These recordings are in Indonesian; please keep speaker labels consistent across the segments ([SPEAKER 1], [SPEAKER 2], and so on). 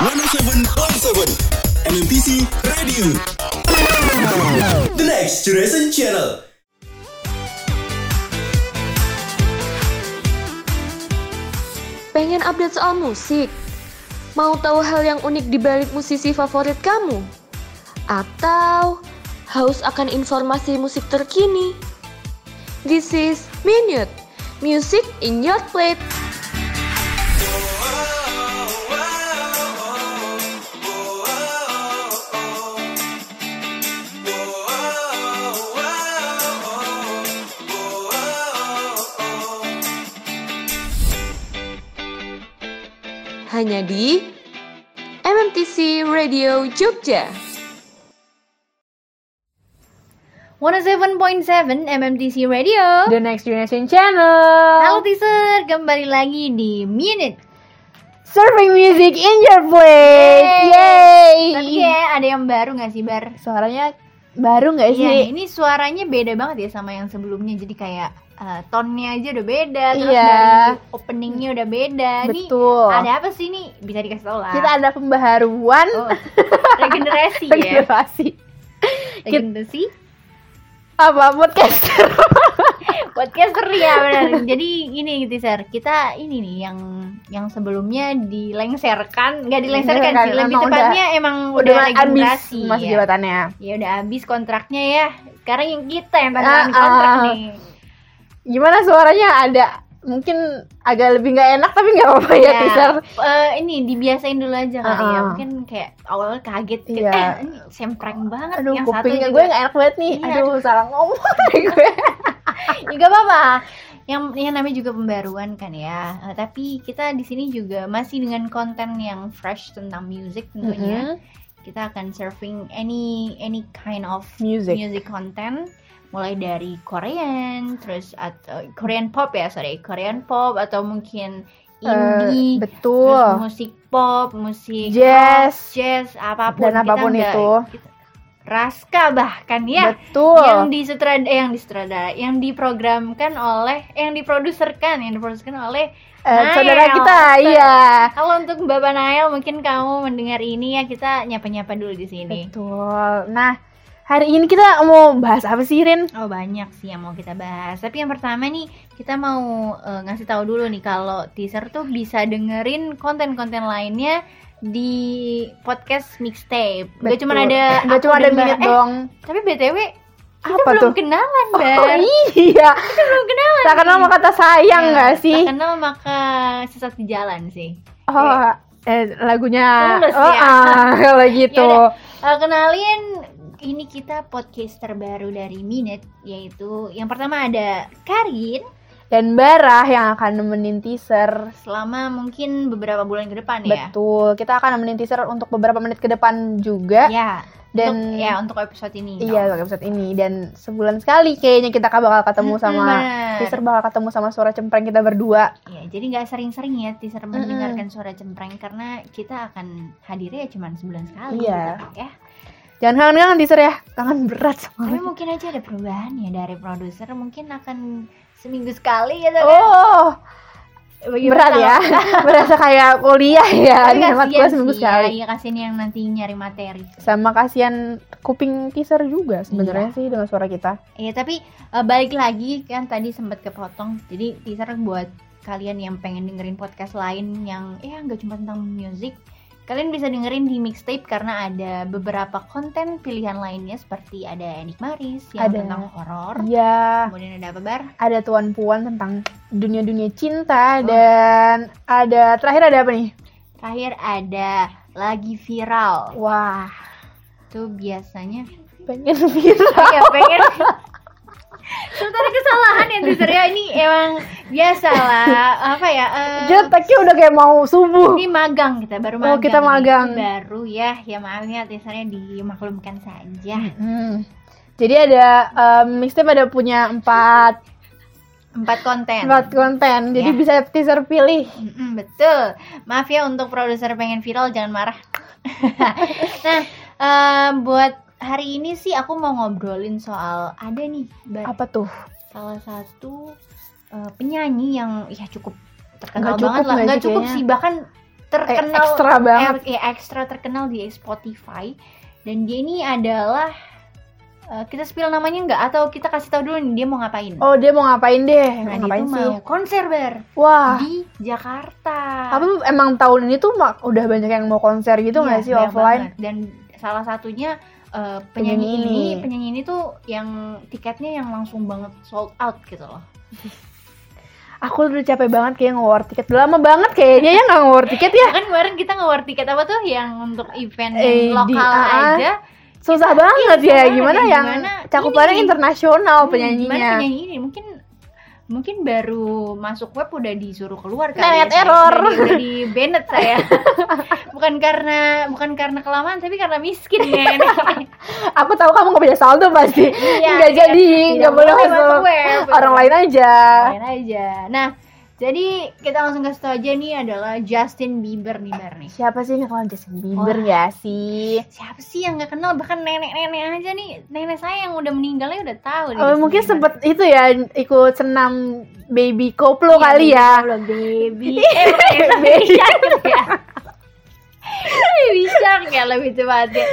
[SPEAKER 1] 107.7 MMPC Radio The Next Generation Channel
[SPEAKER 2] Pengen update soal musik? Mau tahu hal yang unik di balik musisi favorit kamu? Atau haus akan informasi musik terkini? This is Minute Music in Your Plate. Hanya di MMTC Radio Jogja.
[SPEAKER 3] 107.7 MMTC Radio
[SPEAKER 4] The Next Generation Channel.
[SPEAKER 3] Halo teaser, kembali lagi di Minute
[SPEAKER 4] Surfing music in your place. Yay.
[SPEAKER 3] Eh, Tapi ya ada yang baru gak sih Bar?
[SPEAKER 4] Suaranya baru nggak sih?
[SPEAKER 3] Iya, ini suaranya beda banget ya sama yang sebelumnya Jadi kayak eh, tonnya aja udah beda Terus
[SPEAKER 4] Iya.
[SPEAKER 3] dari openingnya udah beda Nih,
[SPEAKER 4] Betul.
[SPEAKER 3] ada apa sih nih? Bisa dikasih tau lah
[SPEAKER 4] Kita ada pembaharuan
[SPEAKER 3] Oh, Regenerasi ya
[SPEAKER 4] regenerasi. Kita-
[SPEAKER 3] Regenerasi
[SPEAKER 4] Apa podcaster?
[SPEAKER 3] podcaster ya benar. Jadi ini gitu Sir, kita ini nih yang yang sebelumnya dilengserkan, nggak dilengserkan
[SPEAKER 4] Dilengserkan,
[SPEAKER 3] sih, lebih
[SPEAKER 4] emang
[SPEAKER 3] tepatnya emang udah,
[SPEAKER 4] habis
[SPEAKER 3] regenerasi
[SPEAKER 4] masa
[SPEAKER 3] ya.
[SPEAKER 4] jabatannya.
[SPEAKER 3] Ya udah habis kontraknya ya. Sekarang yang kita yang tanda
[SPEAKER 4] Ah,
[SPEAKER 3] tangan kontrak
[SPEAKER 4] ah, ah.
[SPEAKER 3] nih.
[SPEAKER 4] Gimana suaranya ada mungkin agak lebih nggak enak tapi nggak apa-apa
[SPEAKER 3] Iya.
[SPEAKER 4] ya, teaser.
[SPEAKER 3] eh, ini dibiasain dulu aja kali ya.
[SPEAKER 4] Ah, ah.
[SPEAKER 3] Mungkin kayak awal kaget gitu.
[SPEAKER 4] Iya.
[SPEAKER 3] Eh, ini sempreng banget
[SPEAKER 4] Aduh,
[SPEAKER 3] yang satu
[SPEAKER 4] kupingnya
[SPEAKER 3] juga.
[SPEAKER 4] gue nggak enak banget nih.
[SPEAKER 3] Iya,
[SPEAKER 4] aduh, salah ngomong deh gue.
[SPEAKER 3] Ya gak apa-apa. Yang yang namanya juga pembaruan kan ya. Eh, tapi kita di sini juga masih dengan konten yang fresh tentang music tentunya.
[SPEAKER 4] Mhm.
[SPEAKER 3] Kita akan surfing any any kind of
[SPEAKER 4] Music.
[SPEAKER 3] music content mulai dari Korean, terus atau Korean pop ya, sorry, Korean pop atau mungkin
[SPEAKER 4] Eh,
[SPEAKER 3] indie,
[SPEAKER 4] betul.
[SPEAKER 3] terus musik pop, musik
[SPEAKER 4] Jazz.
[SPEAKER 3] rock, jazz apapun
[SPEAKER 4] Dan
[SPEAKER 3] Kita
[SPEAKER 4] apapun
[SPEAKER 3] nggak-
[SPEAKER 4] itu.
[SPEAKER 3] kita- Raska bahkan ya
[SPEAKER 4] Betul.
[SPEAKER 3] yang disutrad eh, yang disutradarai yang diprogramkan oleh eh, yang diproduserkan yang diproduserkan oleh
[SPEAKER 4] Eh,
[SPEAKER 3] Nael.
[SPEAKER 4] saudara kita,
[SPEAKER 3] Saudara-
[SPEAKER 4] iya.
[SPEAKER 3] kalau untuk Bapak Nael mungkin kamu mendengar ini ya kita nyapa-nyapa dulu di sini
[SPEAKER 4] Betul. Nah, hari ini kita mau bahas apa sih, Rin?
[SPEAKER 3] oh banyak sih yang mau kita bahas tapi yang pertama nih kita mau eh, ngasih tahu dulu nih kalau teaser tuh bisa dengerin konten-konten lainnya di podcast mixtape gak cuma ada
[SPEAKER 4] gak
[SPEAKER 3] aku
[SPEAKER 4] cuma
[SPEAKER 3] dan
[SPEAKER 4] ada
[SPEAKER 3] Mbak-
[SPEAKER 4] minute
[SPEAKER 3] eh,
[SPEAKER 4] dong.
[SPEAKER 3] tapi btw kita
[SPEAKER 4] Apa
[SPEAKER 3] belum
[SPEAKER 4] tuh?
[SPEAKER 3] kenalan Bar.
[SPEAKER 4] Oh iya.
[SPEAKER 3] kita belum kenalan
[SPEAKER 4] Tak kenal
[SPEAKER 3] nih.
[SPEAKER 4] sama kata sayang
[SPEAKER 3] Ya,
[SPEAKER 4] Iya nggak sih?
[SPEAKER 3] Tak kenal Iya. maka sesat di jalan sih.
[SPEAKER 4] Oh, eh lagunya.
[SPEAKER 3] Tulus
[SPEAKER 4] oh,
[SPEAKER 3] ya.
[SPEAKER 4] ah, kalau gitu.
[SPEAKER 3] Yaudah. Eh, kenalin ini kita podcast terbaru dari Minute yaitu yang pertama ada Karin
[SPEAKER 4] Dan Barah yang akan nemenin teaser.
[SPEAKER 3] selama mungkin beberapa bulan ke depan ya.
[SPEAKER 4] Betul. Kita akan nemenin teaser untuk beberapa menit ke depan juga.
[SPEAKER 3] Ya.
[SPEAKER 4] Dan
[SPEAKER 3] untuk, ya untuk episode ini.
[SPEAKER 4] Iya, untuk episode ini dan sebulan sekali kayaknya kita bakal ketemu
[SPEAKER 3] Mm-mm,
[SPEAKER 4] sama
[SPEAKER 3] bener.
[SPEAKER 4] teaser bakal ketemu sama suara cempreng kita berdua.
[SPEAKER 3] Ya, jadi nggak sering-sering ya teaser mendengarkan suara cempreng karena kita akan hadirnya cuma sebulan sekali
[SPEAKER 4] Iya.
[SPEAKER 3] gitu, ya.
[SPEAKER 4] Jangan kangen-kangen teaser ya, kangen berat
[SPEAKER 3] Tapi
[SPEAKER 4] soalnya.
[SPEAKER 3] mungkin aja ada perubahan ya dari produser mungkin akan seminggu sekali gitu kan.
[SPEAKER 4] Oh,
[SPEAKER 3] Bagi
[SPEAKER 4] berat
[SPEAKER 3] pertama-
[SPEAKER 4] ya. Berasa kayak kuliah ya,
[SPEAKER 3] Tapi
[SPEAKER 4] ini hemat
[SPEAKER 3] kasihan
[SPEAKER 4] gue seminggu
[SPEAKER 3] sih,
[SPEAKER 4] sekali.
[SPEAKER 3] ya, Iya kasihan yang nanti nyari materi.
[SPEAKER 4] Sama kasihan kuping teaser juga sebenarnya sih dengan suara kita.
[SPEAKER 3] Iya tapi eh, balik lagi kan tadi sempat kepotong. Jadi teaser buat kalian yang pengen dengerin podcast lain yang ya nggak cuma tentang music. Kalian bisa dengerin di mixtape karena ada beberapa konten pilihan lainnya seperti ada Enik Maris yang
[SPEAKER 4] Ada.
[SPEAKER 3] tentang horor.
[SPEAKER 4] Iya,
[SPEAKER 3] Kemudian ada apa bar?
[SPEAKER 4] ada tuan puan tentang dunia-dunia
[SPEAKER 3] Oh.
[SPEAKER 4] cinta dan ada terakhir ada apa nih?
[SPEAKER 3] Terakhir ada lagi viral.
[SPEAKER 4] Wah,
[SPEAKER 3] Itu biasanya
[SPEAKER 4] pengen viral.
[SPEAKER 3] Iya pengen Itu tadi kesalahan ya teaser ya ini emang biasa lah apa ya eh,
[SPEAKER 4] Jeteknya udah kayak mau subuh.
[SPEAKER 3] ini magang kita baru
[SPEAKER 4] Oh,
[SPEAKER 3] magang
[SPEAKER 4] kita
[SPEAKER 3] nih.
[SPEAKER 4] magang.
[SPEAKER 3] Ini baru ya ya maaf ya teasernya dimaklumkan saja
[SPEAKER 4] Hmm. Jadi ada em, mixtape ada punya empat
[SPEAKER 3] empat konten
[SPEAKER 4] Hmm. empat konten. Jadi
[SPEAKER 3] Ya.
[SPEAKER 4] bisa teaser pilih.
[SPEAKER 3] Mm-mm, betul maaf ya untuk produser pengen viral jangan marah nah eh, buat hari ini sih aku mau ngobrolin soal ada nih Bar,
[SPEAKER 4] Apa tuh?
[SPEAKER 3] salah satu eh, penyanyi yang ya cukup terkenal
[SPEAKER 4] Nggak cukup
[SPEAKER 3] banget lah
[SPEAKER 4] nggak
[SPEAKER 3] nggak
[SPEAKER 4] sih
[SPEAKER 3] cukup
[SPEAKER 4] kayaknya?
[SPEAKER 3] sih bahkan terkenal
[SPEAKER 4] ekstra banget.
[SPEAKER 3] eh, ya, ekstra terkenal di Spotify dan dia ini adalah eh, kita spill namanya nggak atau kita kasih tahu dulu nih dia mau ngapain
[SPEAKER 4] Oh dia mau ngapain deh?
[SPEAKER 3] nah,
[SPEAKER 4] Mau
[SPEAKER 3] dia
[SPEAKER 4] ngapain
[SPEAKER 3] tuh
[SPEAKER 4] sih?
[SPEAKER 3] mau konser bar
[SPEAKER 4] Wah,
[SPEAKER 3] di Jakarta
[SPEAKER 4] apa emang tahun ini tuh mak- udah banyak yang mau konser
[SPEAKER 3] Iya,
[SPEAKER 4] gitu nggak sih
[SPEAKER 3] banyak
[SPEAKER 4] offline?
[SPEAKER 3] banget. dan salah satunya eh,
[SPEAKER 4] Penyanyi
[SPEAKER 3] penyanyi, ini,
[SPEAKER 4] ini.
[SPEAKER 3] penyanyi ini tuh yang tiketnya yang langsung banget sold out gitu loh
[SPEAKER 4] Aku udah capek banget kayak nge-war tiket. Udah Lama banget kayaknya ya nggak nge-war tiket ya.
[SPEAKER 3] kan kemarin kita ngewar tiket apa tuh yang untuk event
[SPEAKER 4] Eh,
[SPEAKER 3] yang lokal
[SPEAKER 4] di- ah, ah.
[SPEAKER 3] aja
[SPEAKER 4] Susah
[SPEAKER 3] Iya,
[SPEAKER 4] banget
[SPEAKER 3] susah
[SPEAKER 4] ya.
[SPEAKER 3] banget.
[SPEAKER 4] Gimana
[SPEAKER 3] Dan
[SPEAKER 4] yang
[SPEAKER 3] gimana
[SPEAKER 4] cakupannya
[SPEAKER 3] ini?
[SPEAKER 4] internasional
[SPEAKER 3] Hmm,
[SPEAKER 4] Oh, penyanyinya.
[SPEAKER 3] gimana penyanyi ini mungkin mungkin baru masuk web udah disuruh keluar kali ya,
[SPEAKER 4] Net
[SPEAKER 3] saya.
[SPEAKER 4] error.
[SPEAKER 3] udah, di- udah di banned saya bukan karena bukan karena kelamaan tapi karena miskin ya
[SPEAKER 4] Aku tahu kamu nggak punya saldo pasti.
[SPEAKER 3] Iya,
[SPEAKER 4] nggak
[SPEAKER 3] tidak-
[SPEAKER 4] jadi,
[SPEAKER 3] tidak
[SPEAKER 4] nggak boleh
[SPEAKER 3] boleh
[SPEAKER 4] masuk.
[SPEAKER 3] masuk web.
[SPEAKER 4] Orang lain aja.
[SPEAKER 3] Lain aja nah jadi kita langsung kasih tau aja nih adalah Justin Bieber nih Bar nih
[SPEAKER 4] Siapa sih yang kalau Justin Bieber ya sih?
[SPEAKER 3] siapa sih yang nggak kenal bahkan nenek-nenek aja nih nenek saya yang udah meninggalnya udah tahu nih
[SPEAKER 4] Oh,
[SPEAKER 3] Justin
[SPEAKER 4] mungkin
[SPEAKER 3] Bieber.
[SPEAKER 4] sempet itu ya ikut senam baby koplo
[SPEAKER 3] Iya,
[SPEAKER 4] kali
[SPEAKER 3] baby
[SPEAKER 4] ya.
[SPEAKER 3] belum baby eh bukan baby shark ya baby shark ya lebih tepatnya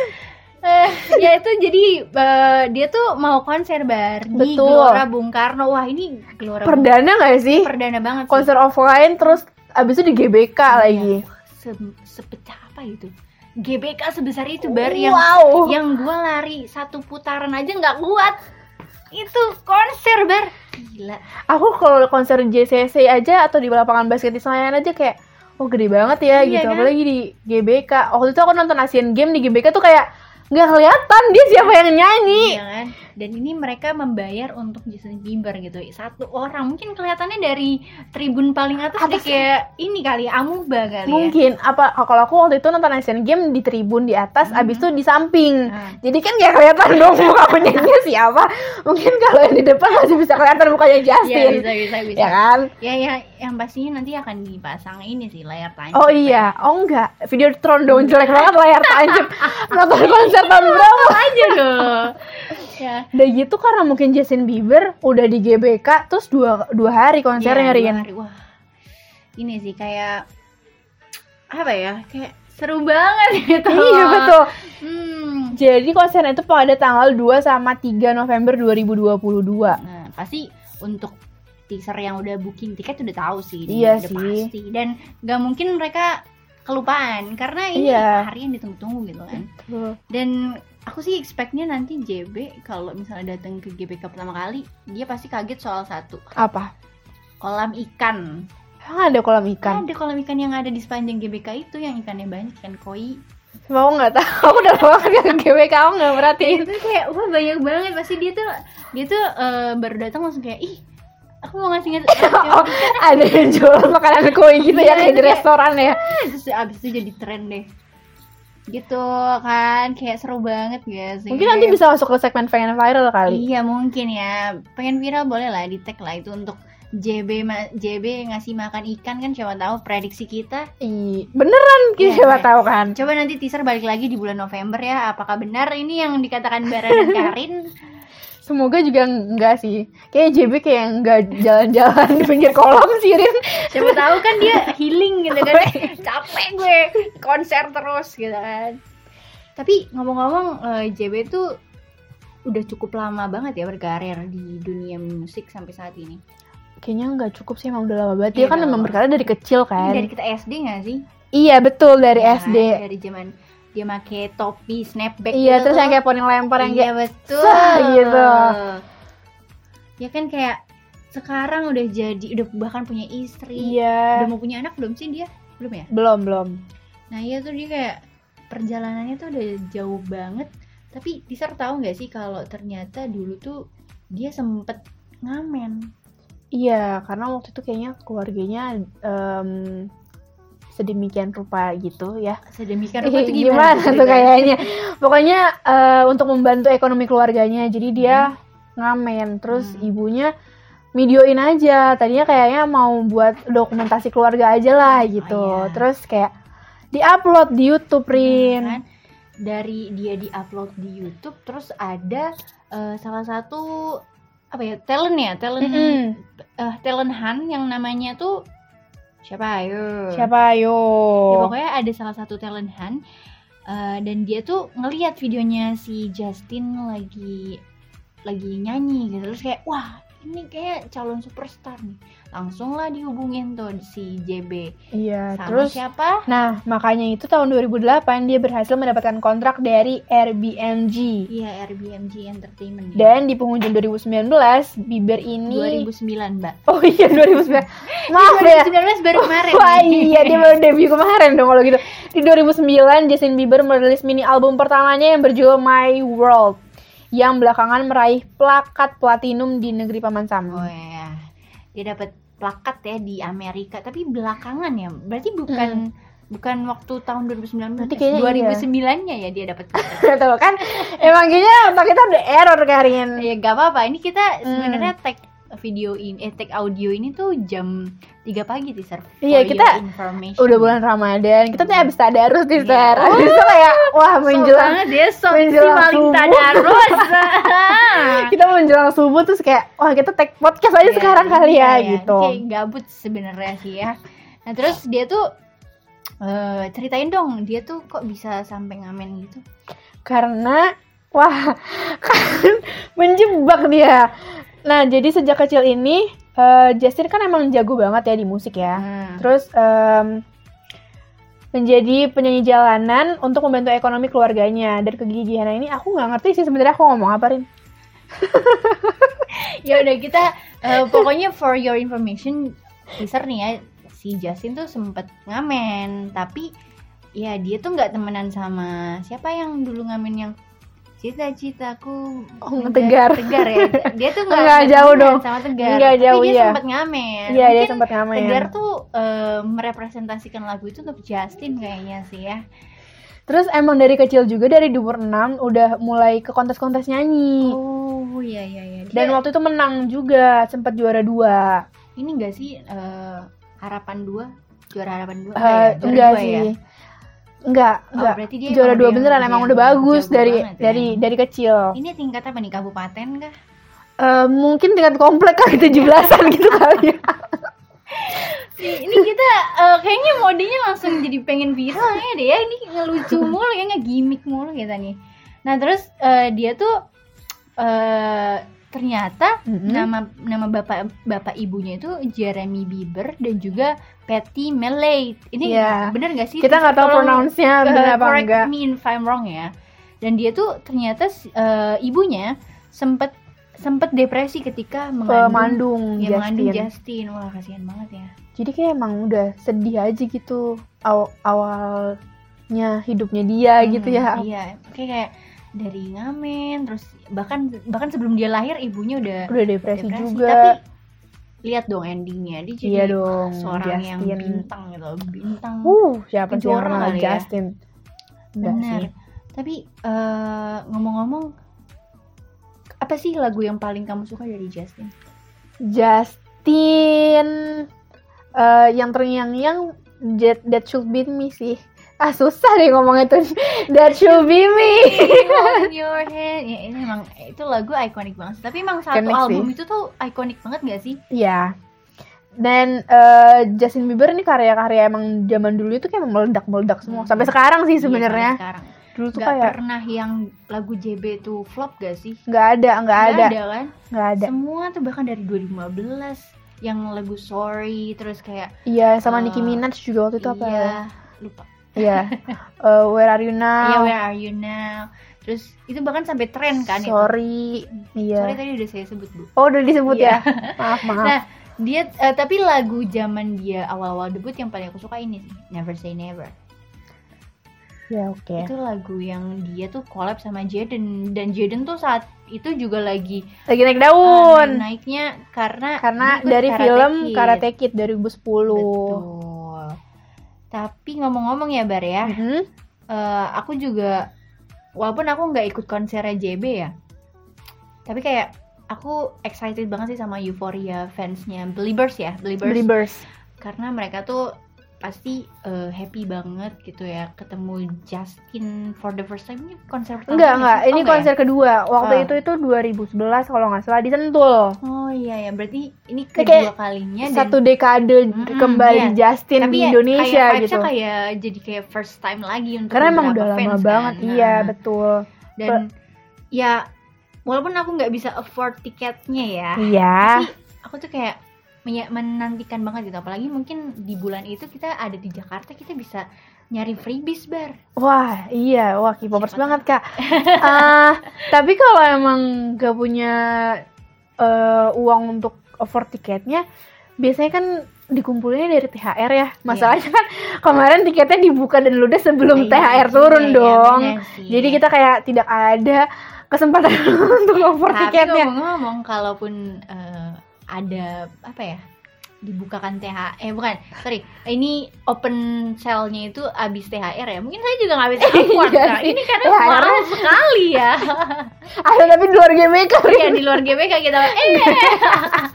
[SPEAKER 3] Eh, ya itu jadi eh, dia tuh mau konser bar di
[SPEAKER 4] Betul.
[SPEAKER 3] Gelora Bung Karno wah ini Gelora Bung-
[SPEAKER 4] Perdana nggak sih?
[SPEAKER 3] perdana banget sih. Iya.
[SPEAKER 4] konser offline terus abis itu di GBK lagi.
[SPEAKER 3] Se- sepecah apa itu GBK sebesar itu bar yang
[SPEAKER 4] wow.
[SPEAKER 3] yang gua lari satu putaran aja nggak kuat itu konser bar gila
[SPEAKER 4] Aku kalau konser JCC aja atau di lapangan basket di Senayan aja kayak oh gede banget ya
[SPEAKER 3] Iya
[SPEAKER 4] gitu.
[SPEAKER 3] kan?
[SPEAKER 4] Apalagi di GBK. Waktu itu aku nonton Asian Game di GBK tuh kayak nggak kelihatan dia siapa yang nyanyi.
[SPEAKER 3] Iya kan? Dan ini mereka membayar untuk Justin Bieber gitu. Satu orang mungkin kelihatannya dari tribun paling atas, udah
[SPEAKER 4] Atas.
[SPEAKER 3] kayak ini kali ya, amuba kali ya.
[SPEAKER 4] Mungkin apa kalau aku waktu itu nonton Asian Game di tribun di atas abis itu di samping.
[SPEAKER 3] Hmm.
[SPEAKER 4] Jadi kan nggak kelihatan dong muka penyanyinya siapa. Mungkin kalau yang di depan masih bisa kelihatan mukanya
[SPEAKER 3] Iya,
[SPEAKER 4] Justin.
[SPEAKER 3] bisa bisa bisa.
[SPEAKER 4] ya kan?
[SPEAKER 3] Ya ya yang pastinya nanti akan dipasang ini sih layar tancap.
[SPEAKER 4] Oh iya, oh enggak, video Throwdown jelek banget layar tancap Nonton konser tahun
[SPEAKER 3] Apa
[SPEAKER 4] berapa
[SPEAKER 3] gitu aja loh. ya.
[SPEAKER 4] Udah gitu karena mungkin Justin Bieber udah di GBK Terus dua, dua hari
[SPEAKER 3] Ya,
[SPEAKER 4] konsernya
[SPEAKER 3] dua
[SPEAKER 4] Rin
[SPEAKER 3] hari. Wah. Ini sih kayak apa ya? Kayak seru banget gitu.
[SPEAKER 4] Iya
[SPEAKER 3] loh.
[SPEAKER 4] betul
[SPEAKER 3] Hmm.
[SPEAKER 4] Jadi konsernya itu pada tanggal 2 sama 3 November 2022
[SPEAKER 3] Nah, pasti untuk teaser yang udah booking tiket udah tahu sih. ini
[SPEAKER 4] Iya
[SPEAKER 3] udah
[SPEAKER 4] sih.
[SPEAKER 3] Pasti. Dan nggak mungkin mereka kelupaan karena ini
[SPEAKER 4] Iya.
[SPEAKER 3] hari yang ditunggu-tunggu gitu kan. Dan aku sih expectnya nanti JB kalau misalnya datang ke GBK pertama kali, dia pasti kaget soal satu
[SPEAKER 4] Apa?
[SPEAKER 3] kolam ikan.
[SPEAKER 4] Emang ada kolam ikan?
[SPEAKER 3] Ada kolam ikan yang ada di sepanjang GBK itu yang ikannya banyak ikan koi.
[SPEAKER 4] Mau nggak tahu? Aku udah lama nggak ke GBK, aku nggak merhatiin
[SPEAKER 3] itu kayak wah banyak banget pasti dia tuh dia tuh eh, baru datang langsung kayak ih aku mau ngasih ngasih
[SPEAKER 4] Oh, ada yang jual makanan kue gitu
[SPEAKER 3] Iya,
[SPEAKER 4] ya kayak di
[SPEAKER 3] itu kayak-
[SPEAKER 4] restoran ya.
[SPEAKER 3] terus abis itu jadi tren deh gitu kan kayak seru banget gak sih
[SPEAKER 4] Mungkin nanti bisa kan? masuk ke segmen pengen viral kali.
[SPEAKER 3] iya mungkin ya pengen viral boleh lah di tag lah itu untuk JB ma- JB ngasih makan ikan kan siapa tahu prediksi kita
[SPEAKER 4] Ih, beneran kita
[SPEAKER 3] Iya,
[SPEAKER 4] siapa
[SPEAKER 3] iya.
[SPEAKER 4] tahu kan
[SPEAKER 3] coba nanti teaser balik lagi di bulan November ya apakah benar ini yang dikatakan Bara dan Karin
[SPEAKER 4] semoga juga enggak sih kayak JB kayak enggak jalan-jalan di pinggir kolam sih Rin
[SPEAKER 3] siapa tahu kan dia healing gitu kan capek gue konser terus gitu kan tapi ngomong-ngomong eh, JB tuh udah cukup lama banget ya berkarir di dunia musik sampai saat ini
[SPEAKER 4] kayaknya enggak cukup sih emang udah lama banget
[SPEAKER 3] Iya,
[SPEAKER 4] dia kan
[SPEAKER 3] udah
[SPEAKER 4] memang
[SPEAKER 3] lama.
[SPEAKER 4] berkarya dari kecil kan
[SPEAKER 3] Ini dari kita SD gak sih
[SPEAKER 4] iya betul dari
[SPEAKER 3] Nah,
[SPEAKER 4] SD
[SPEAKER 3] dari zaman dia make topi snapback
[SPEAKER 4] iya
[SPEAKER 3] gitu
[SPEAKER 4] terus
[SPEAKER 3] tuh.
[SPEAKER 4] yang kayak poning lempar yang
[SPEAKER 3] iya
[SPEAKER 4] kayak
[SPEAKER 3] betul
[SPEAKER 4] "Sah," gitu.
[SPEAKER 3] ya kan kayak sekarang udah jadi udah bahkan punya istri
[SPEAKER 4] iya
[SPEAKER 3] udah mau punya anak belum sih dia belum ya
[SPEAKER 4] belum belum
[SPEAKER 3] Nah iya tuh dia kayak perjalanannya tuh udah jauh banget. Tapi Tisar tahu nggak sih kalau ternyata dulu tuh dia sempet ngamen.
[SPEAKER 4] iya karena waktu itu kayaknya keluarganya em, sedemikian rupa gitu ya
[SPEAKER 3] Sedemikian rupa
[SPEAKER 4] Ih,
[SPEAKER 3] tuh
[SPEAKER 4] gimana,
[SPEAKER 3] gimana? gitu kan?
[SPEAKER 4] tuh kayaknya pokoknya eh, untuk membantu ekonomi keluarganya jadi dia ngamen terus
[SPEAKER 3] Hmm.
[SPEAKER 4] ibunya videoin aja tadinya kayaknya mau buat dokumentasi keluarga aja lah gitu
[SPEAKER 3] iya.
[SPEAKER 4] terus kayak diupload di YouTube Rin
[SPEAKER 3] Kan? Dari dia diupload di YouTube terus ada eh, salah satu apa ya talent ya talent
[SPEAKER 4] Mm-mm.
[SPEAKER 3] eh, talent Han yang namanya tuh Siapa? Ayo.
[SPEAKER 4] Siapa ayo?
[SPEAKER 3] Ya, pokoknya ada salah satu talent hunt eh, dan dia tuh ngelihat videonya si Justin lagi lagi nyanyi gitu terus kayak wah ini kayak calon superstar nih langsung lah dihubungin tuh si JB
[SPEAKER 4] Iya,
[SPEAKER 3] sama
[SPEAKER 4] terus
[SPEAKER 3] siapa
[SPEAKER 4] nah makanya itu tahun 2008 dia berhasil mendapatkan kontrak dari Airbnb.
[SPEAKER 3] iya Airbnb Entertainment ya.
[SPEAKER 4] Dan di penghujung 2019 Bieber
[SPEAKER 3] 2009
[SPEAKER 4] ini
[SPEAKER 3] mbak
[SPEAKER 4] Oh iya 2009. Maaf ya.
[SPEAKER 3] 2019 baru kemarin
[SPEAKER 4] Wah
[SPEAKER 3] nih.
[SPEAKER 4] iya dia baru debut kemarin dong kalau gitu. Di 2009 Justin Bieber merilis mini album pertamanya yang berjudul My World yang belakangan meraih plakat platinum di negeri paman Sam.
[SPEAKER 3] Oh iya. Dia dapat plakat ya di Amerika, tapi belakangan ya. Berarti bukan bukan waktu tahun 2019.
[SPEAKER 4] Berarti kayaknya iya.
[SPEAKER 3] 2009-nya ya dia dapat. plakat.
[SPEAKER 4] Gak tau kan? Emang kayaknya otak kita udah error Karin.
[SPEAKER 3] ya gak apa-apa. Ini kita
[SPEAKER 4] Hmm.
[SPEAKER 3] sebenarnya tag video ini eh tag audio ini tuh jam 3 pagi di server.
[SPEAKER 4] Iya, kita
[SPEAKER 3] information.
[SPEAKER 4] Udah bulan Ramadan, kita tuh abis tadarus di
[SPEAKER 3] Iya.
[SPEAKER 4] Star. Abis itu kayak wah
[SPEAKER 3] Sok
[SPEAKER 4] menjelang
[SPEAKER 3] banget ya, sok
[SPEAKER 4] menjelang
[SPEAKER 3] si paling
[SPEAKER 4] subuh.
[SPEAKER 3] tadarus.
[SPEAKER 4] kita menjelang subuh terus kayak wah kita tag podcast aja
[SPEAKER 3] Iya,
[SPEAKER 4] sekarang kali
[SPEAKER 3] iya,
[SPEAKER 4] ya
[SPEAKER 3] iya.
[SPEAKER 4] gitu.
[SPEAKER 3] Ini Kayak gabut sebenarnya sih ya. Nah terus dia tuh eh, ceritain dong dia tuh kok bisa sampai ngamen gitu.
[SPEAKER 4] karena wah kan menjebak dia. Nah jadi sejak kecil ini eh, Justin kan emang jago banget ya di musik ya.
[SPEAKER 3] Nah,
[SPEAKER 4] Terus em, menjadi penyanyi jalanan untuk membantu ekonomi keluarganya dan kegigihan ini aku nggak ngerti sih sebenarnya aku ngomong apa Rin.
[SPEAKER 3] ya udah kita eh, pokoknya for your information teaser nih ya si Justin tuh sempet ngamen tapi ya dia tuh nggak temenan sama siapa yang dulu ngamen yang cita-citaku
[SPEAKER 4] Oh, Tegar.
[SPEAKER 3] tegar ya dia tuh nggak
[SPEAKER 4] Nggak
[SPEAKER 3] nggak
[SPEAKER 4] jauh
[SPEAKER 3] temenan
[SPEAKER 4] dong.
[SPEAKER 3] sama tegar
[SPEAKER 4] Nggak
[SPEAKER 3] tapi
[SPEAKER 4] jauh,
[SPEAKER 3] dia
[SPEAKER 4] iya.
[SPEAKER 3] sempet ngamen
[SPEAKER 4] Iya dia
[SPEAKER 3] Mungkin
[SPEAKER 4] sempat ngamen.
[SPEAKER 3] tegar tuh eh, merepresentasikan lagu itu untuk Justin kayaknya sih ya
[SPEAKER 4] Terus emang dari kecil juga dari di umur 6 udah mulai ke kontes-kontes nyanyi.
[SPEAKER 3] oh iya iya iya Dia-
[SPEAKER 4] Dan waktu itu menang juga, sempat juara dua.
[SPEAKER 3] ini enggak sih eh, harapan dua juara harapan dua
[SPEAKER 4] Eh,
[SPEAKER 3] Nggak ya? Juara
[SPEAKER 4] enggak
[SPEAKER 3] dua
[SPEAKER 4] sih.
[SPEAKER 3] ya?
[SPEAKER 4] Enggak,
[SPEAKER 3] Oh,
[SPEAKER 4] enggak.
[SPEAKER 3] berarti dia
[SPEAKER 4] juara
[SPEAKER 3] emang
[SPEAKER 4] dua
[SPEAKER 3] udah-
[SPEAKER 4] beneran emang udah bagus
[SPEAKER 3] jago
[SPEAKER 4] dari
[SPEAKER 3] banget ya.
[SPEAKER 4] dari dari kecil.
[SPEAKER 3] ini tingkat apa nih kabupaten kah
[SPEAKER 4] Eh, mungkin tingkat komplek kali 17-an gitu kali ya.
[SPEAKER 3] ini kita eh, kayaknya modenya langsung jadi pengen viral ya deh ya ini ngelucu mulu ya ngegimik mulu kita nih nah terus eh, dia tuh eh ternyata
[SPEAKER 4] Mhm.
[SPEAKER 3] nama nama bapak bapak ibunya itu Jeremy Bieber dan juga Patty Mellate ini
[SPEAKER 4] Iya.
[SPEAKER 3] bener gak sih
[SPEAKER 4] Kita nggak tahu
[SPEAKER 3] Tolong-
[SPEAKER 4] pronounce-nya bener
[SPEAKER 3] Uh,
[SPEAKER 4] apa
[SPEAKER 3] correct
[SPEAKER 4] enggak.
[SPEAKER 3] me if I'm wrong ya. Dan dia tuh ternyata uh, ibunya sempet sempet depresi ketika mengandung
[SPEAKER 4] Pemandung
[SPEAKER 3] ya, mengandung
[SPEAKER 4] Justin.
[SPEAKER 3] Justin. Wah, kasihan banget ya.
[SPEAKER 4] Jadi kayak emang udah sedih aja gitu aw- awalnya hidupnya dia gitu ya.
[SPEAKER 3] Hmm, Iya, kayak kayak dari ngamen terus bahkan bahkan sebelum dia lahir ibunya udah
[SPEAKER 4] Udah depresi,
[SPEAKER 3] depresi.
[SPEAKER 4] juga.
[SPEAKER 3] Tapi lihat dong endingnya dia jadi
[SPEAKER 4] iya dong,
[SPEAKER 3] seorang
[SPEAKER 4] Justin.
[SPEAKER 3] yang bintang gitu, bintang.
[SPEAKER 4] Uh, siapa sih
[SPEAKER 3] Kejora
[SPEAKER 4] orang kenal
[SPEAKER 3] kali ya.
[SPEAKER 4] Justin? Enggak
[SPEAKER 3] Bener.
[SPEAKER 4] sih.
[SPEAKER 3] Tapi eh, ngomong-ngomong apa sih lagu yang paling kamu suka dari Justin?
[SPEAKER 4] Justin eh, yang terngiang-ngiang that, that should be me sih. Ah susah deh ngomong itu. That should be me.
[SPEAKER 3] Hold your hand. Ya, ini emang itu lagu ikonik banget. Tapi emang satu
[SPEAKER 4] Ikonik
[SPEAKER 3] album
[SPEAKER 4] sih.
[SPEAKER 3] itu tuh ikonik banget gak sih?
[SPEAKER 4] ya. Dan eh, Justin Bieber ini karya-karya emang zaman dulu itu kayak meledak-meledak semua.
[SPEAKER 3] Hmm.
[SPEAKER 4] Sampai sekarang sih
[SPEAKER 3] Iya, ya? sampai
[SPEAKER 4] sebenarnya.
[SPEAKER 3] sekarang.
[SPEAKER 4] Dulu tuh
[SPEAKER 3] Gak
[SPEAKER 4] kayak
[SPEAKER 3] pernah yang lagu JB tuh flop gak sih?
[SPEAKER 4] nggak ada, nggak
[SPEAKER 3] Nggak
[SPEAKER 4] ada,
[SPEAKER 3] kan?
[SPEAKER 4] nggak ada.
[SPEAKER 3] Semua tuh bahkan dari 2015 yang lagu Sorry terus kayak
[SPEAKER 4] Iya, sama
[SPEAKER 3] Eh,
[SPEAKER 4] Nicki Minaj juga waktu itu apa? ya?
[SPEAKER 3] iya, lupa.
[SPEAKER 4] Iya. Eh, where are you now?
[SPEAKER 3] Iya, Where Are You Now? Terus itu bahkan sampai tren kan itu. Mm.
[SPEAKER 4] Sorry. Iya.
[SPEAKER 3] Sorry tadi udah saya sebut, Bu.
[SPEAKER 4] Oh, udah disebut
[SPEAKER 3] Iya.
[SPEAKER 4] ya? Maaf, maaf.
[SPEAKER 3] Nah, dia eh, tapi lagu zaman dia awal-awal debut yang paling aku suka ini sih, Never Say Never.
[SPEAKER 4] ya, oke.
[SPEAKER 3] Itu lagu yang dia tuh collab sama Jaden dan Jaden tuh saat itu juga lagi
[SPEAKER 4] Lagi naik
[SPEAKER 3] eh,
[SPEAKER 4] daun.
[SPEAKER 3] naik-naiknya karena
[SPEAKER 4] Karena
[SPEAKER 3] dia ikut
[SPEAKER 4] dari
[SPEAKER 3] Karate
[SPEAKER 4] film
[SPEAKER 3] Kid.
[SPEAKER 4] Karate Kid 2010.
[SPEAKER 3] Betul. Tapi ngomong-ngomong ya Bar ya,
[SPEAKER 4] Mhm.
[SPEAKER 3] eh, aku juga walaupun aku nggak ikut konsernya JB ya, tapi kayak aku excited banget sih sama Euphoria fansnya Believers ya Believers.
[SPEAKER 4] Believers.
[SPEAKER 3] karena mereka tuh pasti eh, happy banget gitu ya ketemu Justin for the first time ini konser pertama
[SPEAKER 4] Enggak,
[SPEAKER 3] nggak
[SPEAKER 4] enggak.
[SPEAKER 3] sih? Oh,
[SPEAKER 4] Ini
[SPEAKER 3] nggak ya?
[SPEAKER 4] konser kedua. Waktu
[SPEAKER 3] Ah.
[SPEAKER 4] itu itu 2011 kalau nggak salah di Sentul.
[SPEAKER 3] Oh iya ya, berarti ini
[SPEAKER 4] kayak
[SPEAKER 3] kedua kalinya Iya, dan
[SPEAKER 4] Satu dekade
[SPEAKER 3] Mm-mm,
[SPEAKER 4] kembali Justin
[SPEAKER 3] tapi
[SPEAKER 4] di
[SPEAKER 3] ya,
[SPEAKER 4] Indonesia
[SPEAKER 3] kayak vibes-nya
[SPEAKER 4] gitu.
[SPEAKER 3] kayak jadi kayak first time lagi untuk
[SPEAKER 4] Karena emang udah
[SPEAKER 3] beberapa
[SPEAKER 4] lama
[SPEAKER 3] fans, kan.
[SPEAKER 4] banget.
[SPEAKER 3] Nah,
[SPEAKER 4] Iya, betul.
[SPEAKER 3] dan ya walaupun aku nggak bisa afford tiketnya ya,
[SPEAKER 4] Iya.
[SPEAKER 3] aku tuh kayak menya- menantikan banget gitu apalagi mungkin di bulan itu kita ada di Jakarta kita bisa nyari freebies bar
[SPEAKER 4] Wah, iya, wah K-popers
[SPEAKER 3] Siapa
[SPEAKER 4] banget kak. Ah, tapi kalau emang gak punya eh, uang untuk over tiketnya, biasanya kan dikumpulinnya dari THR ya. Masalahnya kan kemarin tiketnya dibuka dan ludes sebelum
[SPEAKER 3] Iya,
[SPEAKER 4] THR
[SPEAKER 3] iya,
[SPEAKER 4] turun
[SPEAKER 3] iya,
[SPEAKER 4] dong.
[SPEAKER 3] bener Iya. sih.
[SPEAKER 4] Jadi kita kayak tidak ada kesempatan untuk over
[SPEAKER 3] tapi
[SPEAKER 4] tiketnya.
[SPEAKER 3] ngomong-ngomong kalaupun eh, ada apa ya dibukakan THR eh bukan sorry ini open sale-nya itu abis THR ya mungkin saya juga nggak bisa afford
[SPEAKER 4] Iya
[SPEAKER 3] Kak.
[SPEAKER 4] sih.
[SPEAKER 3] ini karena
[SPEAKER 4] THR -nya-
[SPEAKER 3] mahal sekali ya
[SPEAKER 4] Ada tapi di luar kan GBK.
[SPEAKER 3] ya di luar GBK kita eh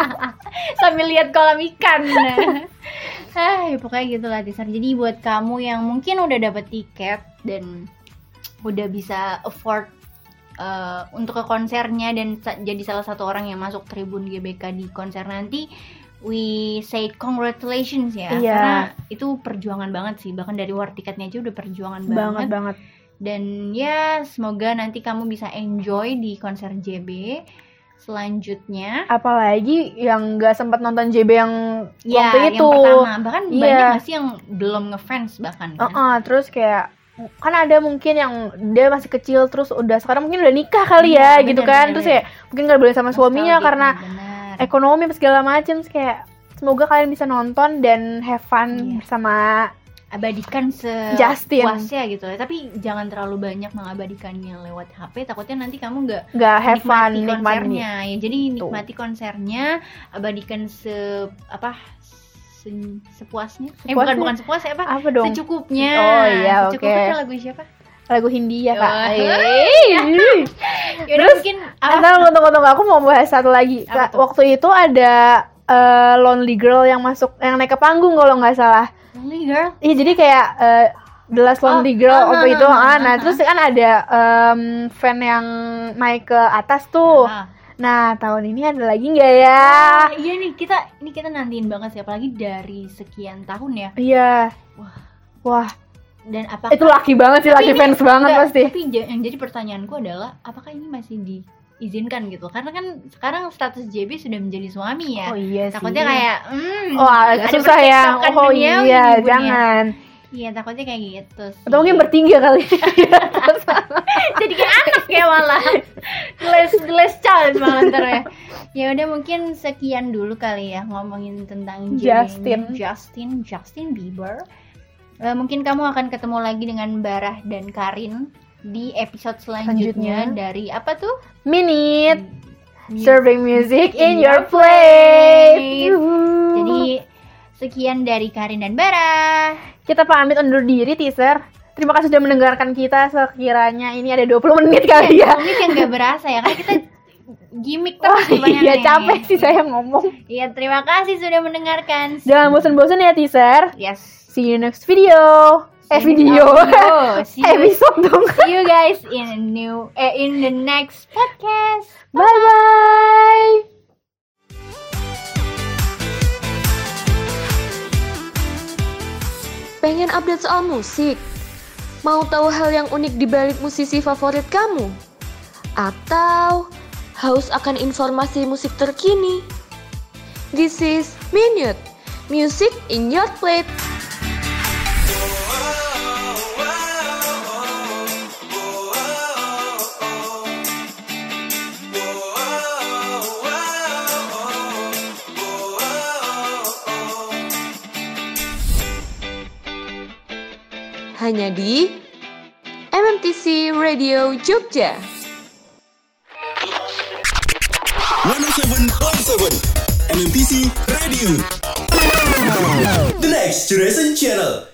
[SPEAKER 3] sambil lihat kolam ikan Hai, pokoknya gitu lah Tisar. Jadi buat kamu yang mungkin udah dapet tiket dan udah bisa afford eh, untuk ke konsernya dan sa- jadi salah satu orang yang masuk tribun GBK di konser nanti, we say congratulations ya.
[SPEAKER 4] Iya.
[SPEAKER 3] Karena itu perjuangan banget sih. Bahkan dari war tiketnya aja udah perjuangan
[SPEAKER 4] Banget banget.
[SPEAKER 3] dan ya semoga nanti kamu bisa enjoy di konser JB selanjutnya
[SPEAKER 4] Apalagi yang gak sempat nonton JB yang
[SPEAKER 3] ya
[SPEAKER 4] waktu itu.
[SPEAKER 3] yang pertama bahkan
[SPEAKER 4] Iya. Uh-uh,
[SPEAKER 3] banyak masih yang belum ngefans bahkan kan?
[SPEAKER 4] Heeh, terus kayak kan ada mungkin yang dia masih kecil terus udah sekarang mungkin udah nikah kali ya
[SPEAKER 3] Iya,
[SPEAKER 4] gitu
[SPEAKER 3] bener,
[SPEAKER 4] kan
[SPEAKER 3] bener,
[SPEAKER 4] terus
[SPEAKER 3] bener.
[SPEAKER 4] ya mungkin nggak boleh sama suaminya
[SPEAKER 3] Nostalgic,
[SPEAKER 4] karena
[SPEAKER 3] benar.
[SPEAKER 4] ekonomi apa segala macem terus kayak semoga kalian bisa nonton dan have fun
[SPEAKER 3] Iya.
[SPEAKER 4] bersama
[SPEAKER 3] abadikan se
[SPEAKER 4] Justin.
[SPEAKER 3] puasnya gitu ya tapi jangan terlalu banyak mengabadikannya lewat HP takutnya nanti kamu nggak
[SPEAKER 4] nggak have fun
[SPEAKER 3] nikmati
[SPEAKER 4] nikmatin
[SPEAKER 3] konsernya ya jadi nikmati konsernya abadikan se apa se- sepuasnya, eh bukan
[SPEAKER 4] Sepuasnya?
[SPEAKER 3] bukan sepuasnya apa
[SPEAKER 4] apa dong
[SPEAKER 3] secukupnya
[SPEAKER 4] Oh, iya, oke.
[SPEAKER 3] secukupnya lagu siapa
[SPEAKER 4] lagu Hindia kak
[SPEAKER 3] Wah.
[SPEAKER 4] Iya. Yeay.
[SPEAKER 3] Yaudah,
[SPEAKER 4] Terus,
[SPEAKER 3] mungkin apa?
[SPEAKER 4] Ntar tunggu tunggu aku mau bahas satu lagi
[SPEAKER 3] Apa
[SPEAKER 4] Kak,
[SPEAKER 3] tuh?
[SPEAKER 4] waktu itu ada eh, Lonely Girl yang masuk yang naik ke panggung kalau nggak salah
[SPEAKER 3] Lonely Girl
[SPEAKER 4] Iya jadi kayak eh, The Last Lonely
[SPEAKER 3] Oh,
[SPEAKER 4] Girl
[SPEAKER 3] ah,
[SPEAKER 4] apa
[SPEAKER 3] ah,
[SPEAKER 4] itu
[SPEAKER 3] ah,
[SPEAKER 4] ah,
[SPEAKER 3] ah,
[SPEAKER 4] nah
[SPEAKER 3] ah.
[SPEAKER 4] terus kan ada em, fan yang naik ke atas tuh
[SPEAKER 3] Ah.
[SPEAKER 4] nah tahun ini ada lagi nggak ya
[SPEAKER 3] Ah, iya nih kita ini kita nantiin banget sih apalagi dari sekian tahun ya
[SPEAKER 4] iya
[SPEAKER 3] Wah.
[SPEAKER 4] wah
[SPEAKER 3] dan apakah
[SPEAKER 4] itu laki banget sih
[SPEAKER 3] Tapi
[SPEAKER 4] laki
[SPEAKER 3] ini
[SPEAKER 4] fans banget
[SPEAKER 3] Enggak,
[SPEAKER 4] pasti
[SPEAKER 3] tapi ja- yang jadi pertanyaanku adalah apakah ini masih diizinkan gitu karena kan sekarang status JB sudah menjadi suami ya
[SPEAKER 4] iya
[SPEAKER 3] takutnya kayak hmm,
[SPEAKER 4] oh agak
[SPEAKER 3] ada
[SPEAKER 4] susah ya
[SPEAKER 3] percekcokan
[SPEAKER 4] oh
[SPEAKER 3] duniawi
[SPEAKER 4] iya
[SPEAKER 3] nih, Bun, ya.
[SPEAKER 4] jangan
[SPEAKER 3] iya takutnya kayak gitu sih.
[SPEAKER 4] atau mungkin bertiga kali
[SPEAKER 3] jadi kayak anak ya malah les les child malah ntar ya ya udah mungkin sekian dulu kali ya ngomongin tentang JB
[SPEAKER 4] Justin.
[SPEAKER 3] ini. Justin Justin Bieber Eh, mungkin kamu akan ketemu lagi dengan Barah dan Karin di episode selanjutnya,
[SPEAKER 4] Selanjutnya.
[SPEAKER 3] dari apa tuh
[SPEAKER 4] minute
[SPEAKER 3] Music
[SPEAKER 4] serving music in your plate
[SPEAKER 3] jadi sekian dari Karin dan Barah
[SPEAKER 4] kita pamit undur diri teaser terima kasih sudah mendengarkan kita sekiranya ini ada 20 menit kali ya
[SPEAKER 3] komik yang gak berasa ya karena kita gimmick
[SPEAKER 4] Wah,
[SPEAKER 3] terus kebanyakan
[SPEAKER 4] iya
[SPEAKER 3] ya.
[SPEAKER 4] capek sih saya ngomong
[SPEAKER 3] Iya, terima kasih sudah mendengarkan
[SPEAKER 4] jangan bosen-bosen ya teaser
[SPEAKER 3] yes
[SPEAKER 4] see you next video eh
[SPEAKER 3] See you
[SPEAKER 4] video
[SPEAKER 3] next video. See you-
[SPEAKER 4] episode dong
[SPEAKER 3] See you guys in a new eh, in the next podcast.
[SPEAKER 4] bye bye
[SPEAKER 2] Pengen update soal musik? Mau tahu hal yang unik di balik musisi favorit kamu? Atau haus akan informasi musik terkini? This is Minute, Music in Your Plate. Hanya di MMTC Radio Jogja.
[SPEAKER 1] 107.7 NMPC Radio The Next Generation Channel